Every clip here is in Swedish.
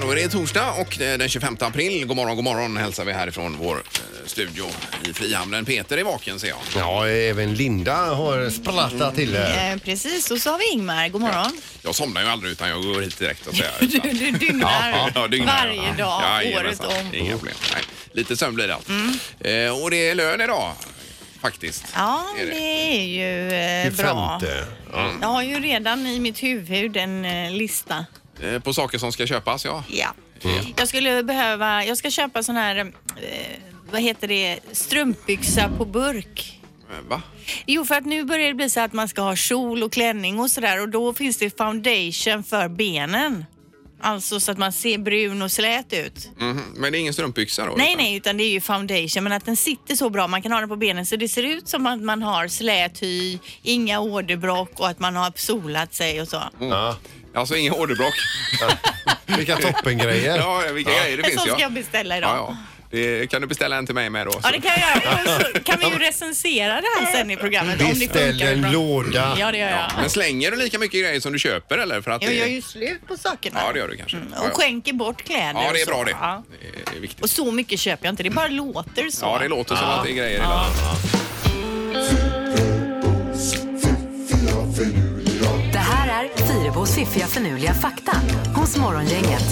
då är det torsdag och eh, den 25 april. God morgon, god morgon hälsar vi härifrån vår eh, studio i Frihamnen. Peter är vaken ser jag. Ja, även Linda har sprattat till här. Eh, precis, och så har vi Ingmar. God morgon. Jag somnar ju aldrig utan jag går hit direkt och säger. Du, du dygnar Ja, dygnar. varje dag, året jajamensan. om. Mm. Inga problem. Nej, lite sömn blir det alltid. Eh, och det är lön idag faktiskt. Ja, Är det? det är ju eh, bra. Mm. Femte. Jag har ju redan i mitt huvud en eh, lista. Eh, på saker som ska köpas, ja. Ja. Jag skulle behöva, jag ska köpa sån här, eh, vad heter det, strumpbyxa på burk. Eh, Va? Jo, för att nu börjar det bli så att man ska ha kjol och klänning och sådär och då finns det foundation för benen. Alltså så att man ser brun och slät ut. Mhm, Men det är ingen strumpbyxa då? Nej, utan- nej, utan det är ju foundation. Men att den sitter så bra, man kan ha den på benen så det ser ut som att man har slät hy, inga åderbråck och att man har solat sig och så. Ja. Alltså inga orderbråck. Vilka toppengrejer. ja, vilka grejer det En finns sån ja. ska jag beställa idag. Ja, ja. Det, kan du beställa en till mig med då? Ja, det kan jag göra. Och så Kan vi ju recensera det här sen i programmet om det Beställ funkar en bra. låda. Ja, det gör jag. Men slänger du lika mycket grejer som du köper eller? För att Jag det... gör ju slut på sakerna. Ja, det gör du kanske. Ja, Och ja. skänker bort kläder. ja, det är och så. bra det. Ja. Det är viktigt. Och så mycket köper jag inte, det bara låter så. Ja, det låter som att det är grejer hela tiden. Det här är Fyrabos fiffiga förnuliga fakta hos Morgongänget.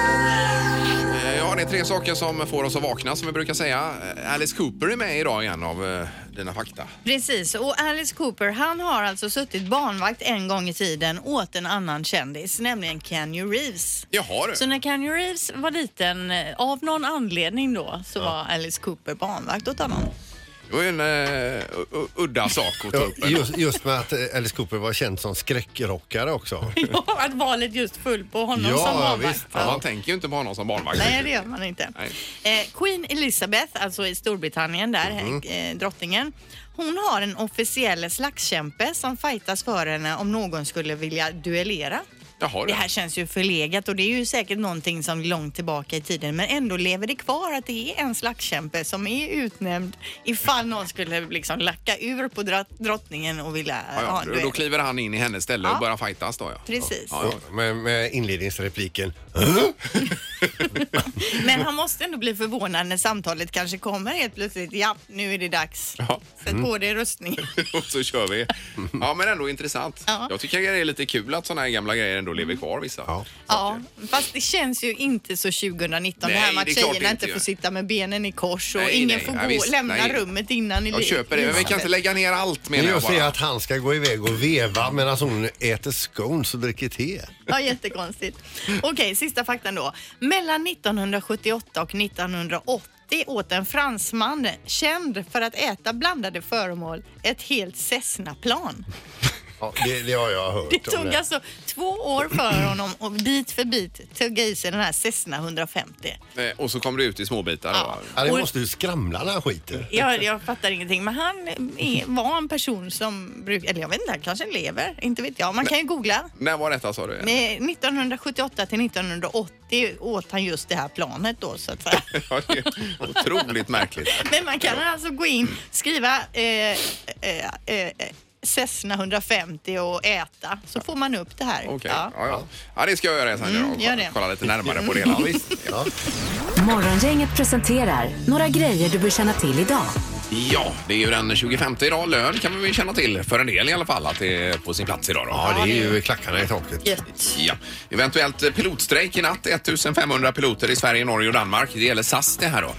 Eh, Ja, det är tre saker som får oss att vakna som vi brukar säga. Eh, Alice Cooper är med idag igen av eh, dina fakta. Precis, och Alice Cooper han har alltså suttit barnvakt en gång i tiden åt en annan kändis, nämligen Kenny Reeves. Jaha du. Så när Kenny Reeves var liten, eh, av någon anledning då, så var Alice Cooper barnvakt åt honom. Det var ju en eh, u- u- udda sak att ta Ja, upp. Just, just med att eh, Alice Cooper var känd som skräckrockare också. Ja, att valet just full på honom Ja, som barnvakt. visst. Ja, man tänker ju inte på honom som barnvakt. Nej, det gör man inte. Nej. Eh, Queen Elizabeth, alltså i Storbritannien där, Mm-hmm. eh, drottningen. Hon har en officiell slagskämpe som fightas för henne om någon skulle vilja duellera. Jaha, Det du. här känns ju förlegat och det är ju säkert någonting som långt tillbaka i tiden men ändå lever det kvar att det är en slagskämpe som är utnämnd ifall någon skulle liksom lacka ur på dra- drottningen och vilja Ja, ha ja. en Då, då duell. kliver han in i hennes ställe och börjar fightas då ja. Precis. Ja, ja. Med, med inledningsrepliken. Men han måste ändå bli förvånad när samtalet kanske kommer helt plötsligt. Ja, nu är det dags. Ja. Mm. Sätt på dig rustningen. och så kör vi. Ja, men ändå intressant. Ja. Jag tycker det är lite kul att såna här gamla grejer ändå lever kvar vissa. Ja. Ja, fast det känns ju inte så 2019 det här Nej, med det är att klart det tjejerna inte inte gör. får sitta med benen i kors och Nej, ingen nej, får ja, gå, visst, lämna nej. rummet innan i Jag köper det, men vi kan inte lägga ner allt Men menar jag just det bara. att han ska gå iväg och veva medan hon äter scones och dricker te. Ja, jättekonstigt. Okej, sista faktan då. Mellan 1978 och 1980 åt en fransman känd för att äta blandade föremål ett helt Cessna-plan. Ja, det, det har jag hört. Det om tog alltså två år för honom och bit för bit tugga i sig den här Cessna 150. Eh, Och så kommer det ut i småbitar. Ja. då. Ja, det måste ju skramla när han skiter. Jag, jag fattar ingenting, men han är, var en person som brukar, eller jag vet inte, han kanske lever, inte vet jag. Man kan ju googla. När var detta sa du? Med 1978 till 1980 åt han just det här planet då så att säga. Ja, det är Otroligt märkligt. Men man kan alltså gå in, skriva eh, eh, eh, Cessna 150 och äta så får man upp det här. Okej, ja. Ja. Ja, ja. det ska jag göra sen idag. Mm, gör Kolla, det. kolla lite närmare på det hela. Ja. Morgongänget presenterar några grejer du bör känna till idag. Ja, det är ju den 25 idag. Lön kan vi väl känna till, för en del i alla fall, att det är på sin plats idag. Då. ja, det är ju klackarna i taket. Gött. Ja. Eventuellt pilotstrejk i natt. 1500 piloter i Sverige, Norge och Danmark. Det gäller SAS det här då.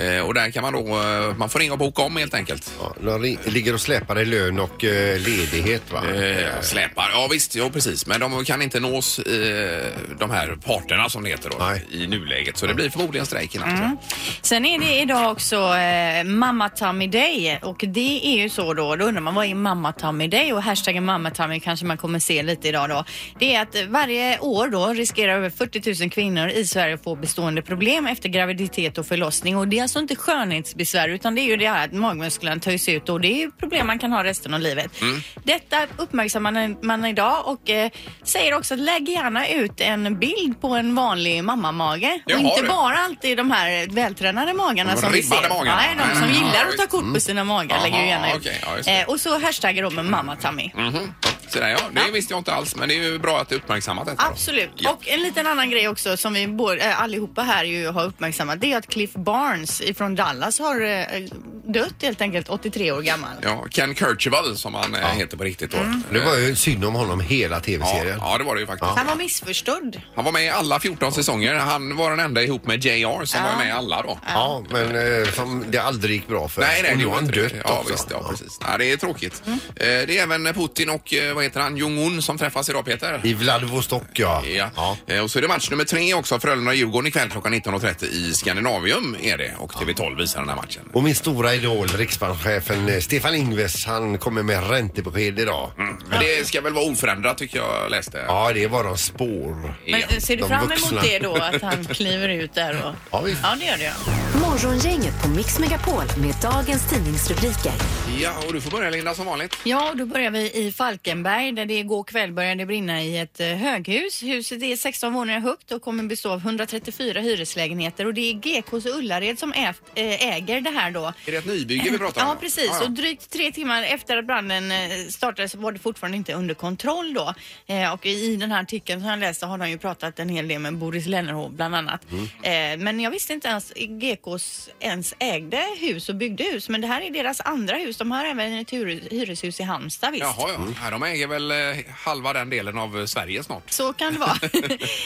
Mm. Eh, och där kan man då, eh, man får ringa och boka om helt enkelt. Ja, de ri- ligger och släpar i lön och eh, ledighet va? Eh, släpar. Ja visst, ja precis. Men de kan inte nås, eh, de här parterna som det heter då, Nej. i nuläget. Så det blir förmodligen strejk i natt. tror Sen är det idag också eh, Mamma Tummy Day och det är ju så då, då undrar man vad är Mamma Tummy Day och hashtaggen Mamma Tummy kanske man kommer se lite idag då. Det är att varje år då riskerar över 40 000 kvinnor i Sverige att få bestående problem efter graviditet och förlossning och det är alltså inte skönhetsbesvär utan det är ju det här att magmusklerna töjs ut och det är ju problem man kan ha resten av livet. Detta uppmärksammar man- man idag och eh, säger också att lägg gärna ut en bild på en vanlig mammamage Jaha, och inte du. bara bara alltid de här vältränade magarna De som vi ribbade ser. magarna. Nej, de som Mm. gillar Ja, att ta kort på sina magar Jaha, lägger ju gärna ut. okej. Ja, just det. eh, och så hashtaggar de med mamma Tammy. jag. Mhm. Så det där. Ja, det visste jag inte alls, men det är ju bra att du uppmärksammat detta. då. Absolut. Ja. Och en liten annan grej också som vi bor, eh, allihopa här ju har uppmärksammat. Det är att Cliff Barnes ifrån Dallas har eh, dött helt enkelt, 83 år gammal. Ja, Ken Kercheval som han eh, heter på riktigt då. Det var ju synd om honom hela tv-serien. Ja, ja, det var det ju faktiskt. Han var missförstådd. Han var med i alla 14 säsonger. Han var den enda ihop med JR som var med i alla då. Ja, men eh, som det aldrig gick bra för. Nej, nej, Och det nu har gjorde han inte dött det. Ja, också. visst, ja, precis. Nej, det är tråkigt. Eh, Det är även Putin och eh, vad heter han, Jong-Un som träffas idag Peter. I Vladivostok, ja. Ja. Eh, Och så är det match nummer tre också, Frölunda-Djurgården ikväll klockan 19.30 i Skandinavium är det. Och TV12 visar den här matchen. Och min stora idol, riksbankschefen eh, Stefan Ingves, han kommer med räntebesked idag. Men det ska väl vara oförändrat tycker jag läste. Ja, det var de spår. Men Ja, eh, ser du de fram emot vuxna. det då, att han kliver ut där och... Ja, visst. ja det gör det. Morgongänget på Mix Megapol med dagens tidningsrubriker. Ja, och du får börja Linda som vanligt. Ja, och då börjar vi i Falkenberg där det igår kväll började brinna i ett eh, höghus. Huset är 16 våningar högt och kommer bestå av 134 hyreslägenheter och det är GKs Ullared som ägt, eh, äger det här då. Är det ett nybygge vi pratar om? Ja, precis. Ja, ja. Och drygt tre timmar efter att branden eh, startade så var det fortfarande inte under kontroll då. Eh, Och i den här artikeln som jag läste har de ju pratat en hel del med Boris Lennerhov bland annat. Mm. Eh, Men jag visste inte ens Gekos ens ägde hus och byggde hus. Men det här är deras andra hus. De har även ett hyres- hyreshus i Halmstad visst. Jaha, ja. Ja, de äger väl eh, halva den delen av eh, Sverige snart. Så kan det vara.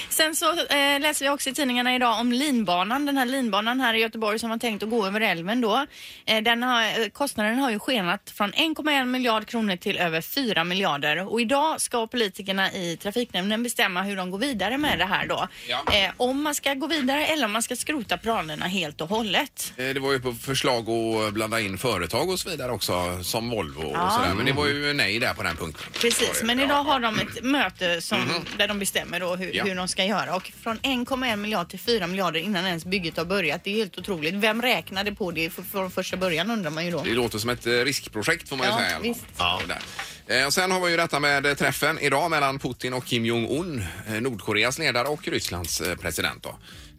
Sen så eh, läser vi också i tidningarna idag om linbanan. Den här linbanan här i Göteborg som var tänkt att gå över älven då. Eh, den har, eh, kostnaden har ju skenat från 1,1 miljard kronor till över 4 miljarder. Och idag ska politikerna i trafiknämnden bestämma hur de går vidare med det här då. Ja. Eh, om man ska gå vidare eller om man ska skrota planerna helt och hålet. Eh, Det var ju på förslag att eh, blanda in företag och så vidare också, som Volvo och sådär. Men det var ju nej där på den punkten. Var Precis, det. men Ja. idag har de ett möte som, där de bestämmer då hur, Ja. hur de ska göra. Och från 1,1 miljard till 4 miljarder innan ens bygget har börjat. Det är helt otroligt. Vem räknade på det f- från första början undrar man ju då. Det låter som ett eh, riskprojekt får man ju Ja, säga. visst. Ja. Där. Eh, Och sen har vi ju detta med eh, träffen idag mellan Putin och Kim Jong-Un, eh, Nordkoreas ledare och Rysslands eh, president. Då.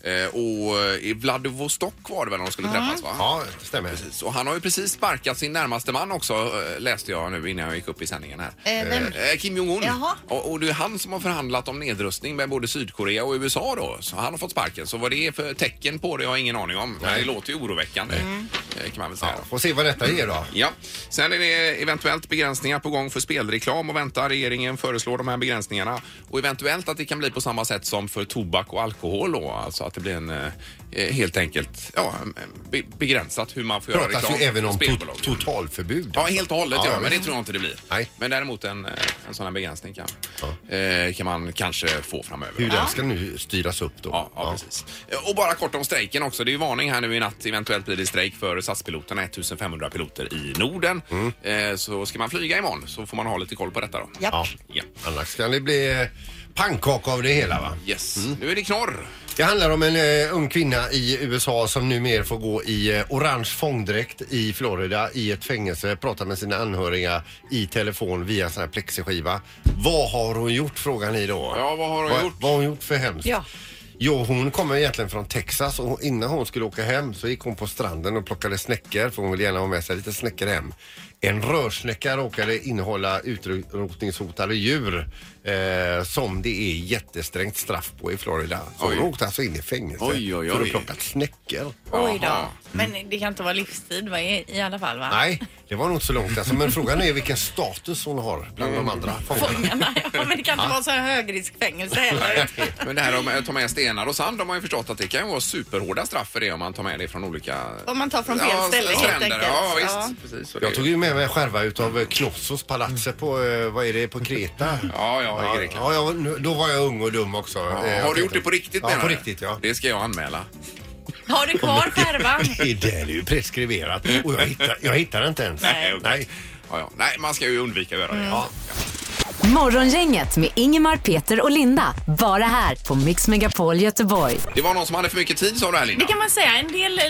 Eh, Och eh, i Vladivostok var det väl de skulle träffas va? Ja, det stämmer. Så han har ju precis sparkat sin närmaste man också eh, läste jag nu innan jag gick upp i sändningen här. Eh, vem? Eh, Kim Jong-Un. Jaha. Och, och det är han som har förhandlat om nedrustning med både Sydkorea och USA då. Så han har fått sparken. Så vad det är för tecken på det har jag ingen aning om. Men det låter ju oroväckande Mm. eh, kan man väl säga. Ja, får se vad detta ger då. Ja, sen är det eventuellt begränsningar på gång för spelreklam och vänta. Regeringen föreslår de här begränsningarna och eventuellt att det kan bli på samma sätt som för tobak och alkohol då. Alltså att det blir en eh, helt enkelt ja, be- begränsat hur man får göra pratas reklam. ju även för om spelbolag. to- totalförbud. Ja, helt och hållet ja, Ja, men det visst. tror jag inte det blir. Nej. Men däremot en, eh, en sån här begränsning kan, eh, kan man kanske få framöver. Hur den ska nu styras upp då. Ja, ja, precis. Eh, Och bara kort om strejken också. Det är ju varning här nu i natt. Eventuellt blir det strejk för SAS-piloterna, 1500 piloter i Norden. Mm. Eh, Så ska man flyga imorgon så får man ha lite koll på detta då. Japp. Ja. Ja. Annars kan det bli eh, pannkaka av det hela va? Yes. Nu är det knorr. Det handlar om en eh, ung kvinna i USA som numera får gå i eh, orange fångdräkt i Florida i ett fängelse, prata med sina anhöriga i telefon via en sån här plexiskiva. Vad har hon gjort frågar ni då? Ja, vad har hon vad, gjort? Vad har hon gjort för hemskt? Ja. Jo, hon kommer egentligen från Texas och innan hon skulle åka hem så gick hon på stranden och plockade snäckor för hon vill gärna ha med sig lite snäckor hem. En rörsnäcka råkade innehålla utrotningshotade djur eh, som det är jättesträngt straff på i Florida. Så Oj. hon åkte alltså in i fängelse Oj, oj, för oj. att plocka snäckor. Oj då. Jaha. Mm. Men det kan inte vara livstid va? I, i alla fall va? Nej, det var nog inte så långt alltså, men frågan är vilken status hon har bland de andra Mm. fångarna. Fångarna, ja, men det kan inte vara så här högriskfängelse heller. Men det här om att ta med stenar och sand, de har ju förstått att det kan ju vara superhårda straff för det om man tar med det från olika... Om man tar från fel ställe, helt stränder. enkelt. Ja, visst. Ja. Precis, så det är Jag ju- tog ju med mig skärva utav eh, Knossos palatset på, eh, vad är det, på Kreta? Ja, ja, i Ja, Grekland. ja, jag var- nu- då var jag ung och dum också. Eh, Ja, har du gjort det på riktigt Ja, menar på du? riktigt ja. Det ska jag anmäla. Har du kvar skärvan? Det där är ju preskriberat och jag hittar, jag hittar inte ens. Nej, okej. Ja, ja. Nej, man ska ju undvika att göra Mm. det. Ja. Morgongänget med Ingemar, Peter och Linda. Bara här på Mix Megapol Göteborg. Det var någon som hade för mycket tid sa du här Linda. Det kan man säga. En del eh,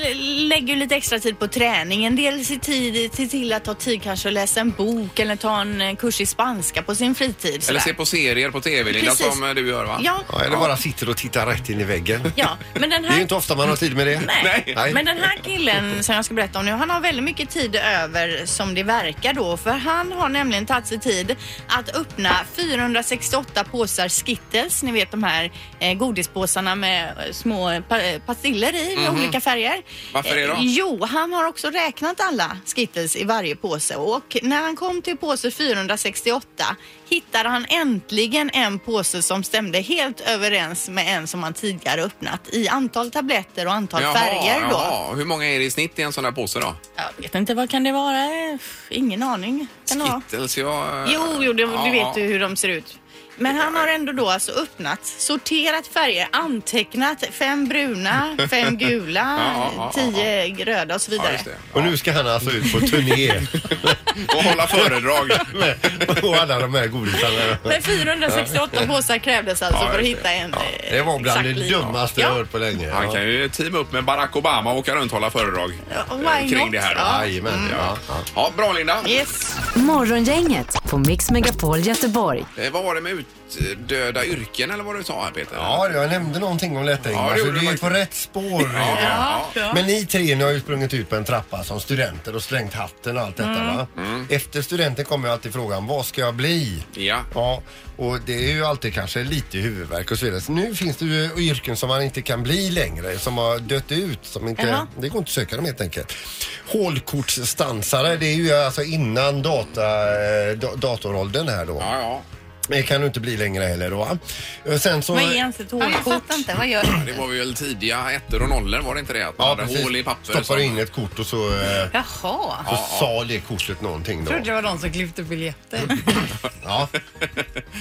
lägger ju lite extra tid på träning. En del ser, tid, ser till att ta tid kanske att läsa en bok eller ta en eh, kurs i spanska på sin fritid. Eller sådär. se på serier på tv Linda Precis. som eh, du gör va? Ja, Ja, eller bara sitter och tittar rätt in i väggen. ja. Men den Det är ju här... inte ofta man har tid med det. Nej. Nej. Men den här killen som jag ska berätta om nu, han har väldigt mycket tid över som det verkar då. För han har nämligen tagit sig tid att öppna vinna 468 påsar Skittles. Ni vet de här eh, godispåsarna med eh, små eh, pa- eh, pastiller i med olika färger. Mhm. Varför det då? Eh, Jo, han har också räknat alla Skittles i varje påse och när han kom till påse 468 hittade han äntligen en påse som stämde helt överens med en som han tidigare öppnat i antal tabletter och antal färger då. jaha. Hur många är det i snitt i en sån där påse då? Jag vet inte, vad kan det vara? Ingen aning. Kan det vara? Skittles, ja. eh, Jo, jo det, ja. du vet ju hur de ser ut. Men han har ändå då alltså öppnat, sorterat färger, antecknat fem bruna, fem gula, Ja, ja, ja, tio röda och Ja, så vidare. just det. Och nu ska han alltså ut på turné Och hålla föredrag. med och alla de här godisarna. Men 468 påsar krävdes alltså Ja, för att just det. hitta en eh, Det var bland exakt det likadan. dummaste jag ja. hört på länge. Han kan ju teama upp med Barack Obama och åka runt och hålla föredrag Ja, eh, why kring not? det här. då. Mm. Ja. Jajamän, ja. ja. Ja, bra Linda. Yes. Morgongänget på Mix Megapol Göteborg. Eh, vad var det med utdöda yrken eller vad du sa här Peter? Ja, jag nämnde någonting om detta Ingmar, det så gjorde du du är på faktiskt. rätt spår. Ja. Men ni tre ni har ju sprungit ut på en trappa som studenter och slängt hatten och allt detta Mm. va? Efter studenten kommer ju alltid frågan, vad ska jag bli? Ja. Ja, och det är ju alltid kanske lite huvudvärk och så vidare. Så nu finns det ju yrken som man inte kan bli längre, som har dött ut. Som inte, Jaha. Det går inte att söka dem helt enkelt. Hålkortsstansare, det är ju alltså innan data, eh, da- datoråldern här då. Ja, ja. Det kan du inte bli längre heller då. va? Eh, Sen så... Vad är ens ett Ja, jag hålkort? fattar inte, vad gör du? Det var väl tidiga ettor och nollor var det inte det? Att man Ja, hade precis. hål i papper. Stoppar som- in ett kort och så, eh, Jaha. så sa det kortet någonting då. Jag trodde det var de som klippte biljetter. Ja.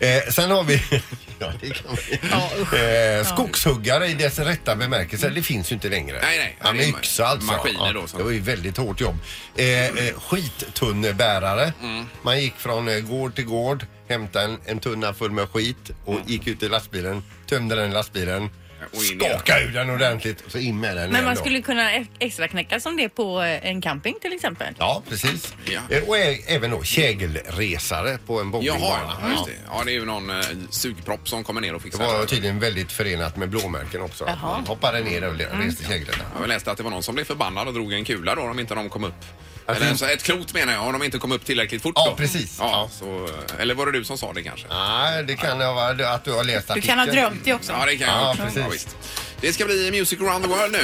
Eh, sen har vi, ja, det kan vi. Eh, skogshuggare i dess rätta bemärkelse. Det finns ju inte längre. Mm. Nej, nej. Ja, Det med är ma- yxa alltså. maskiner ja, då som- Det var ju väldigt hårt jobb. Eh, eh, skittunnebärare. Mm. Man gick från eh, gård till gård, hämtade en, en tunna full med skit och gick ut i lastbilen, tömde den i lastbilen, Mm. Och in igen. skakade ur den ordentligt och så in med den Men igen man då. skulle kunna e- extra knäcka som det på eh, en camping till exempel. Ja, precis. Ja. Eh, Och ä- även då kägelresare på en Jaha, bowlingbana. ja, just det. Ja, det är ju någon eh, sugpropp som kommer ner och Det fixar. var tydligen väldigt förenat med blåmärken också. att Man hoppade ner och le- reste Mm. käglorna. Jag läste att det var någon som blev förbannad och drog en kula då om inte de kom upp. Att Eller det- så ett klot menar jag, om de inte kom upp tillräckligt fort Ja, då. precis. Ja, Ja. så, eller var det du som sa det kanske? Nej, det kan ha varit att du har läst Du artikeln. kan ha drömt det också. Ja, det kan jag Ja, också. precis. visst. Det ska bli Music around the world nu.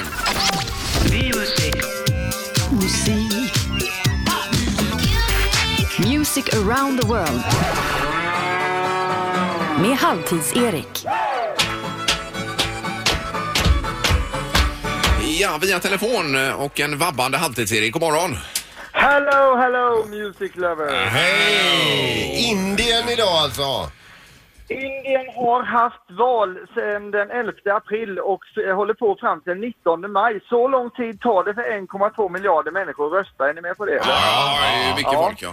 Music around the world. Med Halvtids-Erik. Ja, via telefon eh, och en vabbande halvtids-Erik. God morgon! Hello, hello music lovers! Hej! Indien idag alltså. Indien har haft val sedan den 11 april och s- håller på fram till den 19 maj. Så lång tid tar det för 1,2 miljarder människor att rösta. Är ni med på det? Ja, det är ju mycket Ja. folk ja.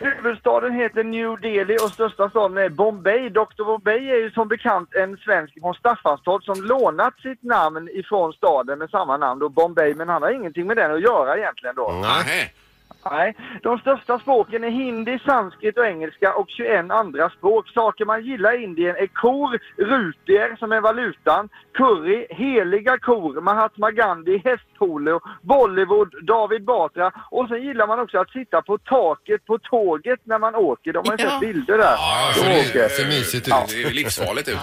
Huvudstaden heter New Delhi och största staden är Bombay. Dr Bombay är ju som bekant en svensk från Staffanstorp som lånat sitt namn ifrån staden med samma namn då, Bombay. Men han har ingenting med den att göra egentligen då. Nej. Nej. Nej, de största språken är hindi, sanskrit och engelska och 21 andra språk. Saker man gillar i Indien är kor, rutier som är valutan, curry, heliga kor, Mahatma Gandhi, hästholo, Bollywood, David Batra och sen gillar man också att sitta på taket på tåget när man åker. De har ju Ja. sett bilder där. Ja, De så det- åker. det ser mysigt ut. Ja. Det ser ju livsfarligt ut.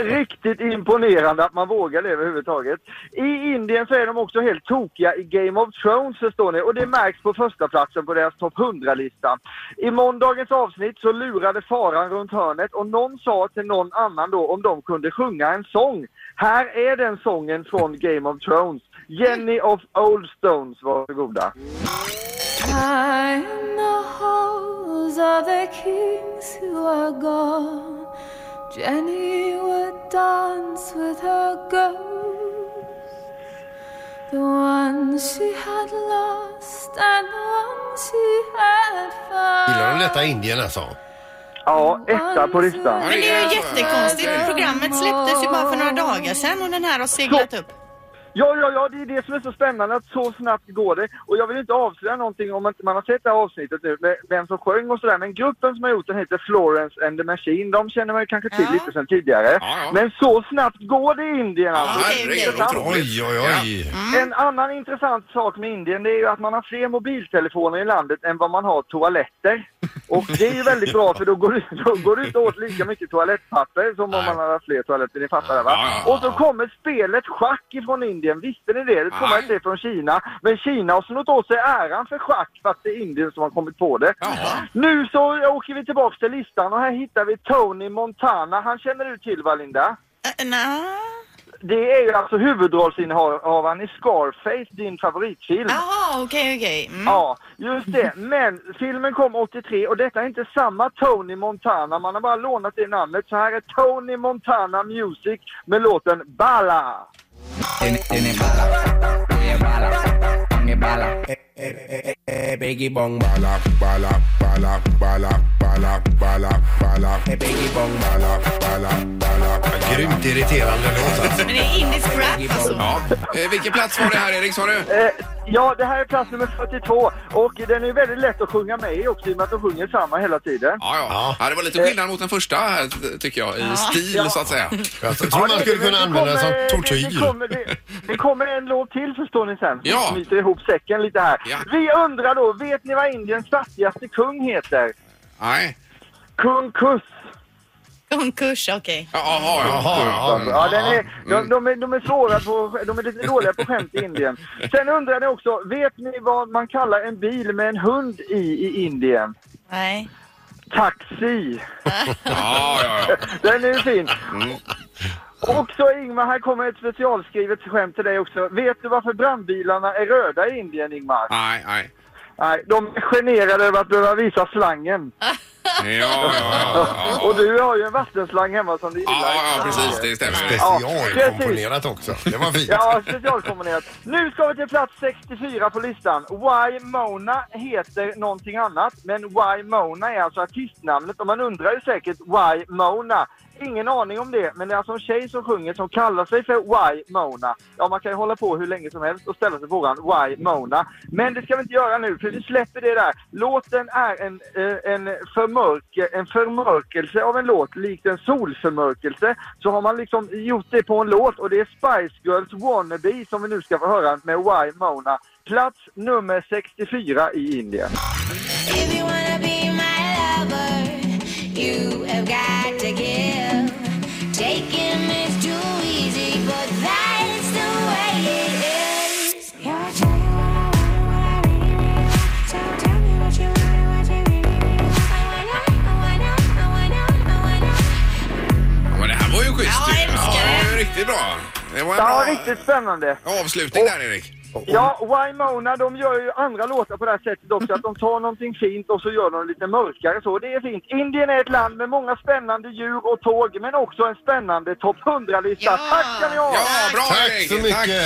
Riktigt imponerande att man vågar det överhuvudtaget. I Indien så är de också helt tokiga i Game of Thrones förstår ni och det märks på första platsen på deras topp 100-lista. I måndagens avsnitt så lurade faran runt hörnet och någon sa till någon annan då om de kunde sjunga en sång. Här är den sången från Game of Thrones. Jenny of Old Stones, varsågoda. I'm the halls of the kings who are gone. Jenny would dance with her ghosts, the ones she had lost and the ones she had found. Gillar de detta Indien alltså? Ja, etta på listan. Men det är ju jättekonstigt. Programmet släpptes ju bara för några dagar sedan och den här har seglat upp. Ja, ja, ja, det är det som är så spännande att så snabbt går det. Och jag vill inte avslöja någonting om att man har sett det här avsnittet nu med vem som sjöng och sådär. Men gruppen som har gjort den heter Florence and the Machine. De känner man ju kanske till Ja. lite sedan tidigare. Ja, ja. Men så snabbt går det i Indien alltså. okej, herregud, okej. otroligt. Oj, oj, oj. Mm. En annan intressant sak med Indien det är ju att man har fler mobiltelefoner i landet än vad man har toaletter. Och det är ju väldigt bra för då går det, då går det inte åt lika mycket toalettpapper som om Nej. man hade haft fler toaletter, ni fattar det va? Ja, ja, ja, och så kommer spelet schack ifrån Indien, visste ni det? Det kommer Nej. inte från Kina. Men Kina har snott åt sig äran för schack för att det är Indien som har kommit på det. Jaha. Nu så åker vi tillbaks till listan och här hittar vi Tony Montana. Han känner du till va Linda? Äh, nja. Det är ju alltså huvudrollsinnehavaren i Scarface, din favoritfilm. Ah. Jaha, okej, okej. Mm. Ja, just det. Men filmen kom 83 och detta är inte samma Tony Montana. Man har bara lånat det namnet. Så här är Tony Montana Music med låten Balla. Tiene, tiene bala, tiene bala, tiene bala. Eh, eh, eh, eh, Biggie Bong bala, bala, bala, bala, bala, bala, bala. Eh, Biggie Bong bala, bala, bala, bala. Grymt irriterande låt alltså. Men det är indisk rap alltså. Ja. Eh, vilken plats var det här Erik sa du? Eh, ja, det här är plats nummer 42 och den är väldigt lätt att sjunga med i också i och med att de sjunger samma hela tiden. Ja, ja. ja, det var lite skillnad mot den första här, t- tycker jag, i stil så att säga. Jag tror man skulle Men kunna använda den som det- Det tortyr. kommer, det, det kommer en låt till förstår ni sen. Ja. Som knyter ihop säcken lite här. Ja. Vi undrar då, vet ni vad Indiens fattigaste kung heter? Nej. Kung Kuss. Konkurs, okej. Jaha, ja. Jaha, ja. Mm. Ja, den är, de, de, är, de är svåra på, de är lite dåliga på skämt i Indien. Sen undrar ni också, vet ni vad man kallar en bil med en hund i i Indien? Nej. Taxi. ja, ja, ja. Den är ju fin. Mm. Och så Ingmar, här kommer ett specialskrivet skämt till dig också. Vet du varför brandbilarna är röda i Indien, Ingmar? Nej, nej. Nej, de är generade över att behöva visa slangen. Ja, ja, ja. Och du har ju en vattenslang hemma som du gillar. Ja, ja, ja precis. Det stämmer. ju. Specialkomponerat också. Det var fint. Ja, specialkombinerat. Nu ska vi till plats 64 på listan. Why Mona heter någonting annat, men Why Mona är alltså artistnamnet och man undrar ju säkert Why Mona. Ingen aning om det, men det är alltså en tjej som sjunger som kallar sig för Why Mona. Ja, man kan ju hålla på hur länge som helst och ställa sig frågan Why Mona. Men det ska vi inte göra nu, för vi släpper det där. Låten är en, eh, en, förmörk, en förmörkelse av en låt, likt en solförmörkelse. Så har man liksom gjort det på en låt och det är Spice Girls Wannabe som vi nu ska få höra med Why Mona. Plats nummer 64 i Indien. If you wanna be my lover, you have got to give. Taking is too easy, but that is the way it is. Yeah, I tell you what I want, what I really need. So tell me what you want, and what you really need. I wanna, I wanna, I wanna, I wanna. Ja, Men det här var ju schysst. Ja, ju. jag älskar Ja, det. var ju riktigt bra. Det var en Ja, bra riktigt spännande. avslutning där, Erik. Ja, Wymona, de gör ju andra låtar på det här sättet också. Att de tar någonting fint och så gör de lite mörkare så. Det är fint. Indien är ett land med många spännande djur och tåg, men också en spännande topp 100-lista. Ja. Tack ska ni ha! Ja, bra Tack Erik. så mycket.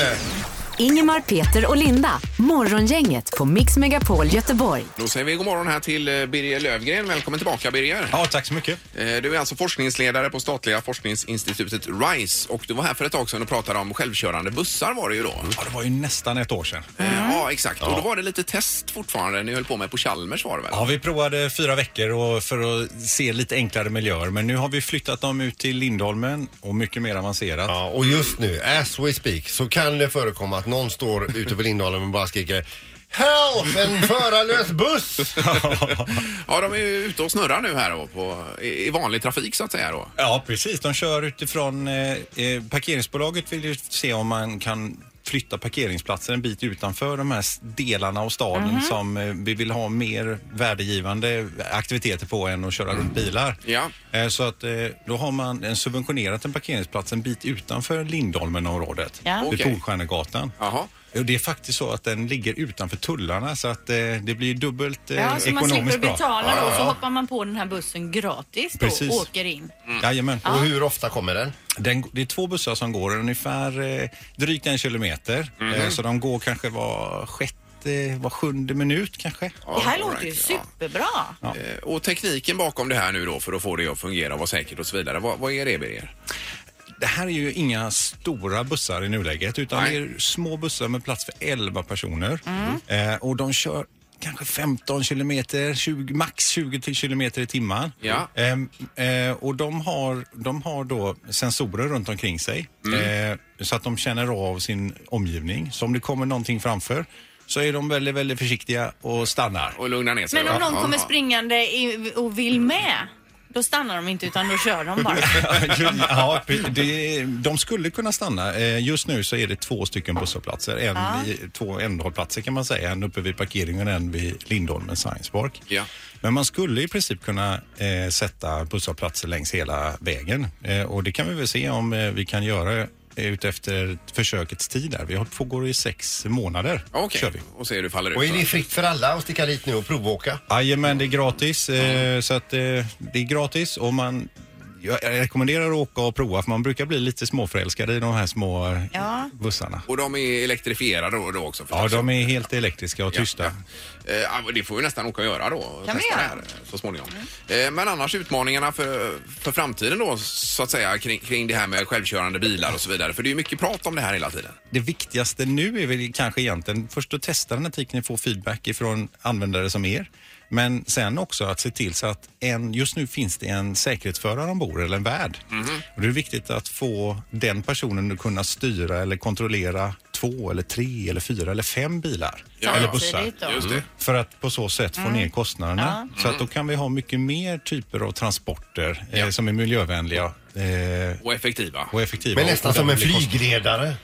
Ingemar, Peter och Linda. Morgongänget på Mix Megapol Göteborg. Då säger vi god morgon här till eh, Birger Lövgren. Välkommen tillbaka Birger. Ja, tack så mycket. Eh, Du är alltså forskningsledare på statliga forskningsinstitutet RISE och du var här för ett tag sedan och pratade om självkörande bussar var det ju då. Ja, det var ju nästan ett år sedan. Eh, Ja, exakt. Och då var det lite test fortfarande ni höll på med på Chalmers var det väl? Ja, vi provade fyra veckor och för att se lite enklare miljöer. Men nu har vi flyttat dem ut till Lindholmen och mycket mer avancerat. Ja, och just nu, as we speak, så kan det förekomma att någon står ute på Lindholmen och bara skriker Help! En förarlös buss! Ja, de är ju ute och snurrar nu här då, på, i i vanlig trafik så att säga då. Ja, precis. De kör utifrån... Eh, eh, parkeringsbolaget vill ju se om man kan flytta parkeringsplatser en bit utanför de här s- delarna av staden Mhm. som eh, vi vill ha mer värdegivande aktiviteter på än att köra runt bilar. Ja. Eh, så att eh, då har man eh, subventionerat en parkeringsplats en bit utanför Lindholmenområdet, Ja. vid Okej. Polstjärnegatan. Jaha. Och det är faktiskt så att den ligger utanför tullarna så att eh, det blir dubbelt eh, Ja, så man slipper ekonomiskt bra. betala då så hoppar man på den här bussen gratis då Precis. och åker in. Jajamän. Och hur ofta kommer den? Den, det är två bussar som går ungefär eh, drygt en kilometer. Eh, så de går kanske var sjätte, var sjunde minut kanske. Ja, Det här all låter ju right, superbra. ja. Eh, Och tekniken bakom det här nu då för att få det att fungera och vara säkert och så vidare. Vad, vad är det Birger? Det här är ju inga stora bussar i nuläget utan det är små bussar med plats för 11 personer. Eh, och de kör kanske 15 kilometer, 20, max 20 till kilometer i timmen. Ja. Ehm, eh, och de har, de har då sensorer runt omkring sig eh, så att de känner av sin omgivning. Så om det kommer någonting framför så är de väldigt, väldigt försiktiga och stannar. Och lugnar ner Men om någon kommer springande i- och vill med, då stannar de inte utan då kör de bara. ja, det, de skulle kunna stanna. Eh, Just nu så är det två stycken busshållplatser. En, Ja. i- Två ändhållplatser kan man säga. En uppe vid parkeringen och en vid Lindholmen Science Park. Ja. Men man skulle i princip kunna eh, sätta busshållplatser längs hela vägen. Eh, och det kan vi väl se om eh, vi kan göra utefter försökets tid. Där. Vi har- pågår i sex månader. Okej, Kör vi. och se hur det faller ut. Och är det fritt för alla att sticka dit nu och provåka? Jajamän, det är gratis. Eh, så att, eh, det är gratis och man jag jag rekommenderar att åka och prova för man brukar bli lite småförälskad i de här små eh, Ja. bussarna. Och de är elektrifierade då, då också Ja, förstås. de är helt elektriska och Ja, tysta. ja. Eh, ja, Det får vi nästan åka och göra då. och Kan vi testa göra? det här så småningom. Eh, Men annars utmaningarna för, för framtiden då så att säga kring, kring det här med självkörande bilar och så vidare. För det är ju mycket prat om det här hela tiden. Det viktigaste nu är väl kanske egentligen först att testa den här tekniken och få feedback ifrån användare som er. Men sen också att se till så att en, just nu finns det en säkerhetsförare ombord eller en värd. Mhm. Och det är viktigt att få den personen att kunna styra eller kontrollera två eller tre eller fyra eller fem bilar. Ja, eller ja. bussar. Mm. då. Just det. För att på så sätt få ner kostnaderna. Så att då kan vi ha mycket mer typer av transporter eh, som är miljövänliga eh, Och effektiva. och effektiva. Men och nästan som en ordentlig kost- flygledare.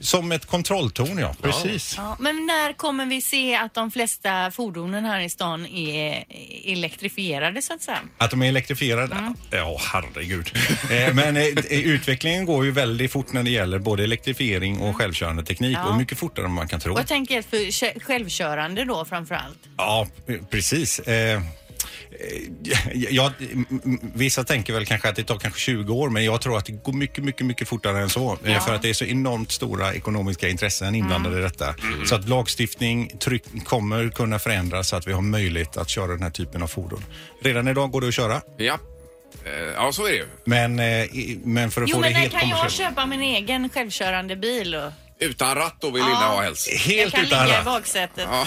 Som ett kontrolltorn, ja. Precis. Ja, men när kommer vi se att de flesta fordonen här i stan är elektrifierade så att säga? Att de är elektrifierade? Mm. Ja, herregud. Eh, Men eh, eh, utvecklingen går ju väldigt fort när det gäller både elektrifiering och självkörande teknik Mm. Ja. och mycket fortare än man kan tro. Och jag tänker för kö- självkörande då framför allt. Ja, p- precis. Eh, eh, Ja, m- m- vissa tänker väl kanske att det tar kanske 20 år men jag tror att det går mycket, mycket, mycket fortare än så. Eh, För att det är så enormt stora ekonomiska intressen inblandade i Mm. detta. Så att lagstiftning tryck, kommer kunna förändras så att vi har möjlighet att köra den här typen av fordon. Redan idag går det att köra. Ja. Eh, Ja, så är det ju. Men, eh, i- men för att Jo få men det när helt kan jag kommersiellt. köpa min egen självkörande bil? Och Utan ratt då vill Linda Ah. ha helst. jag Helt kan utan ligga i ratt? baksätet. Ja.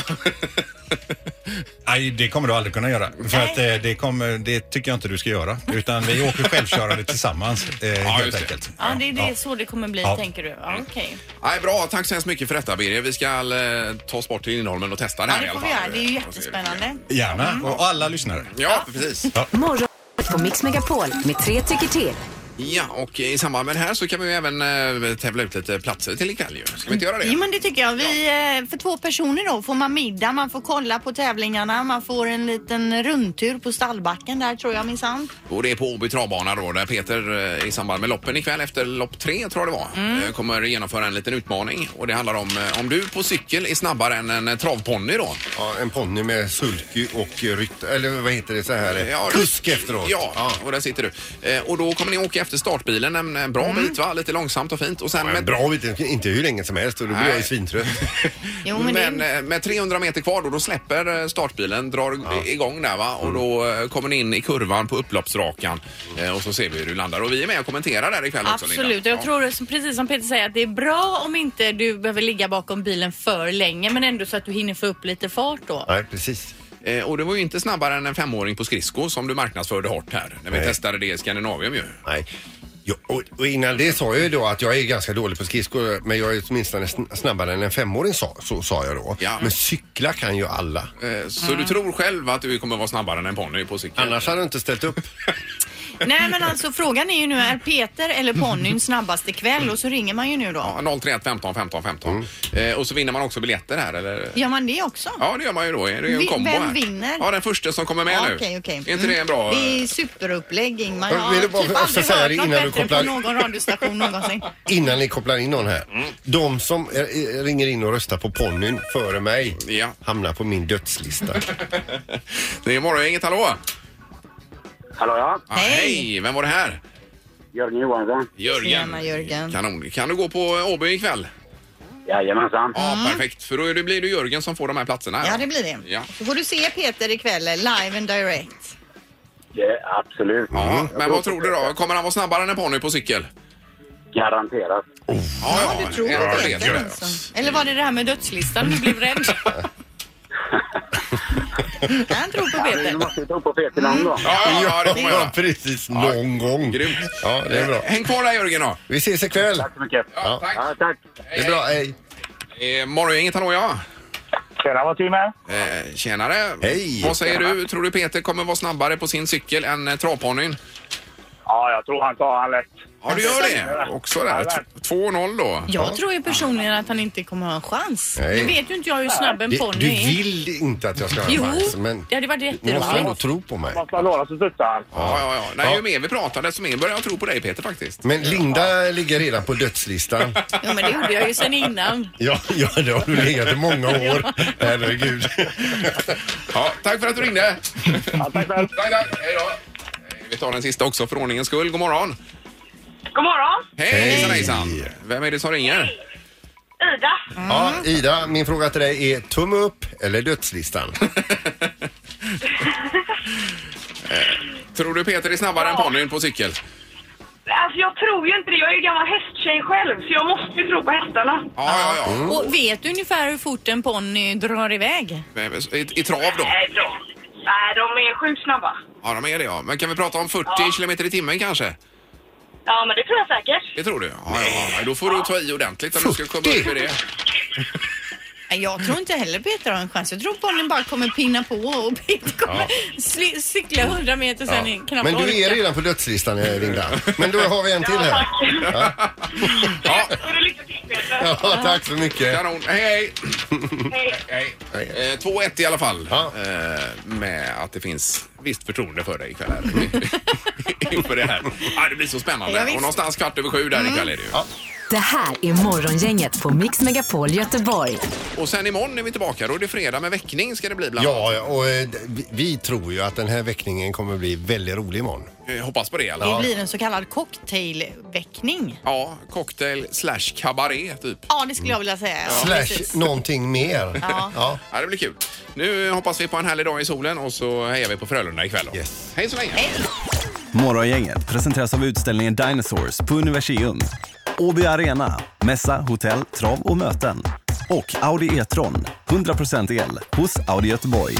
Nej, det kommer du aldrig kunna göra. För Nej. att, eh, det, kommer, det tycker jag inte du ska göra. Utan vi åker självkörande tillsammans eh, helt just det. enkelt. Ja, det är det, Ja. så det kommer bli Ja. tänker du? Ja, okej. Nej, bra, tack så hemskt mycket för detta Birger. Vi ska eh, ta oss bort till Lindholmen och testa det Ja, här i det alla får fall. vi göra. Det är ju Eh, och se hur det blir. jättespännande. Gärna. Och alla lyssnare. Ja, precis. Morgon på Mix Megapol med tre tycker till. Ja, och i samband med det här så kan vi ju även eh, tävla ut lite platser till ikväll ju. Ska vi inte göra det? Jo men det tycker jag. Vi, eh, för två personer då får man middag, man får kolla på tävlingarna, man får en liten rundtur på stallbacken där tror jag minsann. Och det är på Åby travbana då där Peter eh, i samband med loppen ikväll efter lopp tre tror jag det var Mm. eh, kommer genomföra en liten utmaning och det handlar om eh, om du på cykel är snabbare än en eh, travponny då. Ja, en ponny med sulky och rytt... Eller vad heter det så här? Ja, Kusk efteråt. Ja, och där sitter du. Eh, Och då kommer ni åka efter startbilen en en bra bit va? Lite långsamt och fint. Och sen Men med, Mm. bra vet jag, inte hur länge som helst och då blir Nej. jag ju svintrött. Jo men, det- men eh, med 300 meter kvar då, då släpper eh, startbilen, drar i- igång där va Mm. och då eh, kommer ni in i kurvan på upploppsrakan eh, och så ser vi hur du landar. Och vi är med och kommenterar där ikväll också Liksom Linda. Absolut, jag Ja. tror som- precis som Peter säger att det är bra om inte du behöver ligga bakom bilen för länge men ändå så att du hinner få upp lite fart då. Nej, precis. Eh, och det var ju inte snabbare än en femåring på skridsko som du marknadsförde hårt här när vi testade det i Skandinavium ju. Nej. Ja, och, och innan det sa jag ju då att jag är ganska dålig på skridskor men jag är åtminstone sn- snabbare än en femåring sa, så sa jag då. Ja. Men cykla kan ju alla. Eh, så du tror själv att du kommer vara snabbare än en ponny på cykel? Annars hade du inte ställt upp. nej men alltså frågan är ju nu, är Peter eller ponnyn snabbast ikväll? Och så ringer man ju nu då. Ja, 031 15 15 15. Mm. Eh, och så vinner man också biljetter här eller? Gör man det också? Ja, det gör man ju då. Det är ju en Vi- kombo vem här. vinner? Ja, den första som kommer med Ja, nu. Okej, okej. Mm. Är inte det en bra... Det är superupplägg Ingmar. Jag Jag har vill typ bara- jag ska aldrig säga hört det något innan du bättre kopplar- på någon radiostation någonsin. Innan ni kopplar in någon här. Mm. De som eh, ringer in och röstar på ponnyn före mig Ja. hamnar på min dödslista. Det är morgon, inget hallå? Hallå ja, Ah, hej! Vem var det här? Jörgen Johansson. Jörgen. Tjena, Jörgen. Kanon. Kan du gå på Åby ikväll? Jajamensan. Ja, perfekt. För då är det, blir det Jörgen som får de här platserna. Mm. Ja, det blir det. Ja. Då får du se Peter ikväll, eh, live and direct. Ja, absolut. Mm. Ja, men vad tror du då? Kommer han vara snabbare än en ponny på cykel? Garanterat. Ja, Du tror ja, att det vet är jag. den som... Eller var det det här med dödslistan du blev rädd? Han tror på Peter. Du måste ju tro på Peter någon gång. Ja, ja, ja, det får man göra. precis. Någon gång. Grymt. Ja, det är bra. Häng kvar där Jörgen då. Vi ses ikväll. Tack så mycket. Ja, tack. Ja, tack. Det är bra, hej. Eh, Morgongänget, hallå ja. Tjena, vad teamet. Eh, tjenare. Hej. Vad säger du? Tror du Peter kommer vara snabbare på sin cykel än eh, travponnyn? Ja, jag tror han tar han lätt. Ja, du gör det. Också där. Ja, T- 2-0 då. Jag tror ju personligen att han inte kommer ha en chans. Nej. Nu vet ju inte jag hur snabb en Du, du ponny är. vill inte att jag ska ha en Jo, chans, men det hade varit du måste ändå jätteroligt. tro på mig. Måste han låna så studsar han. Ja, ja, ja. Nej, Ja. ju mer vi pratar desto mer börjar jag tro på dig Peter faktiskt. Men Linda ligger redan på dödslistan. Jo, men det gjorde jag ju sen innan. Ja, ja det har du legat i många år. Herregud. Mm. Ja, tack för att du ringde. Ja, tack själv. Tack, tack. Hej då. Eh, Vi tar den sista också för ordningens skull. God morgon. God morgon! Hej, Hej. hejsan hejsan. Vem är det som ringer? Ida! Ja, Ida, min fråga till dig är tumme upp eller dödslistan? Tror du Peter är snabbare än ponnyn på cykel? Alltså jag tror ju inte det. Jag är ju gammal hästtjej själv så jag måste ju tro på hästarna. Ja, ja, ja. Mm. Och vet du ungefär hur fort en ponny drar iväg? Eh, I, i trav då? Nej, de, nej, de är sjukt snabba. Ja, de är det ja. Men kan vi prata om 40 Ja. kilometer i timmen kanske? Ja, men det tror jag säkert. Det tror du? Ja, ja, ja. Då får du ta i ordentligt om du ska komma upp i det. Nej, Jag tror inte heller Peter har en chans. Jag tror ponnyn bara kommer pinna på och Peter kommer sli- cykla 100 meter sen ja. knappt Men du är orka. redan på dödslistan, eh, Linda. Men då har vi en till Ja, här. tack. Ja, Får du lycka till Peter. Ja, tack så mycket. kanon. Hej, Hej. hej. hej. Hej. Eh, 2-1 i alla fall. Ja. Eh, med att det finns visst förtroende för dig ikväll här. Inför det här. Ja, det blir så spännande. Ja, visst. Mm. Och någonstans kvart över sju där ikväll är det ju. Det här är Morgongänget på Mix Megapol Göteborg. Och sen imorgon är vi tillbaka. Då är det fredag med väckning ska det bli bland annat. Ja, ja, och eh, vi- vi tror ju att den här väckningen kommer bli väldigt rolig imorgon. Eh, Hoppas på det i alla Det fall. blir en så kallad cocktailväckning. Ja, cocktail slash kabaré typ. Ja, det skulle jag vilja säga. Ja, precis. Slash någonting mer. Ja. Ja, det blir kul. Nu hoppas vi på en härlig dag i solen och så hejar vi på Frölunda ikväll. då. Yes. Hej så länge! Morgongänget presenteras av utställningen Dinosaurs på Universium. Åby Arena, mässa, hotell, trav och möten. Och Audi E-tron, 100% el, hos Audi Göteborg.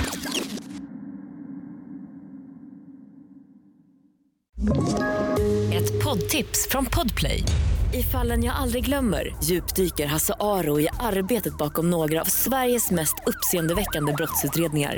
Ett poddtips från Podplay. I fallen jag aldrig glömmer djupdyker Hasse Aro i arbetet bakom några av Sveriges mest uppseendeväckande brottsutredningar.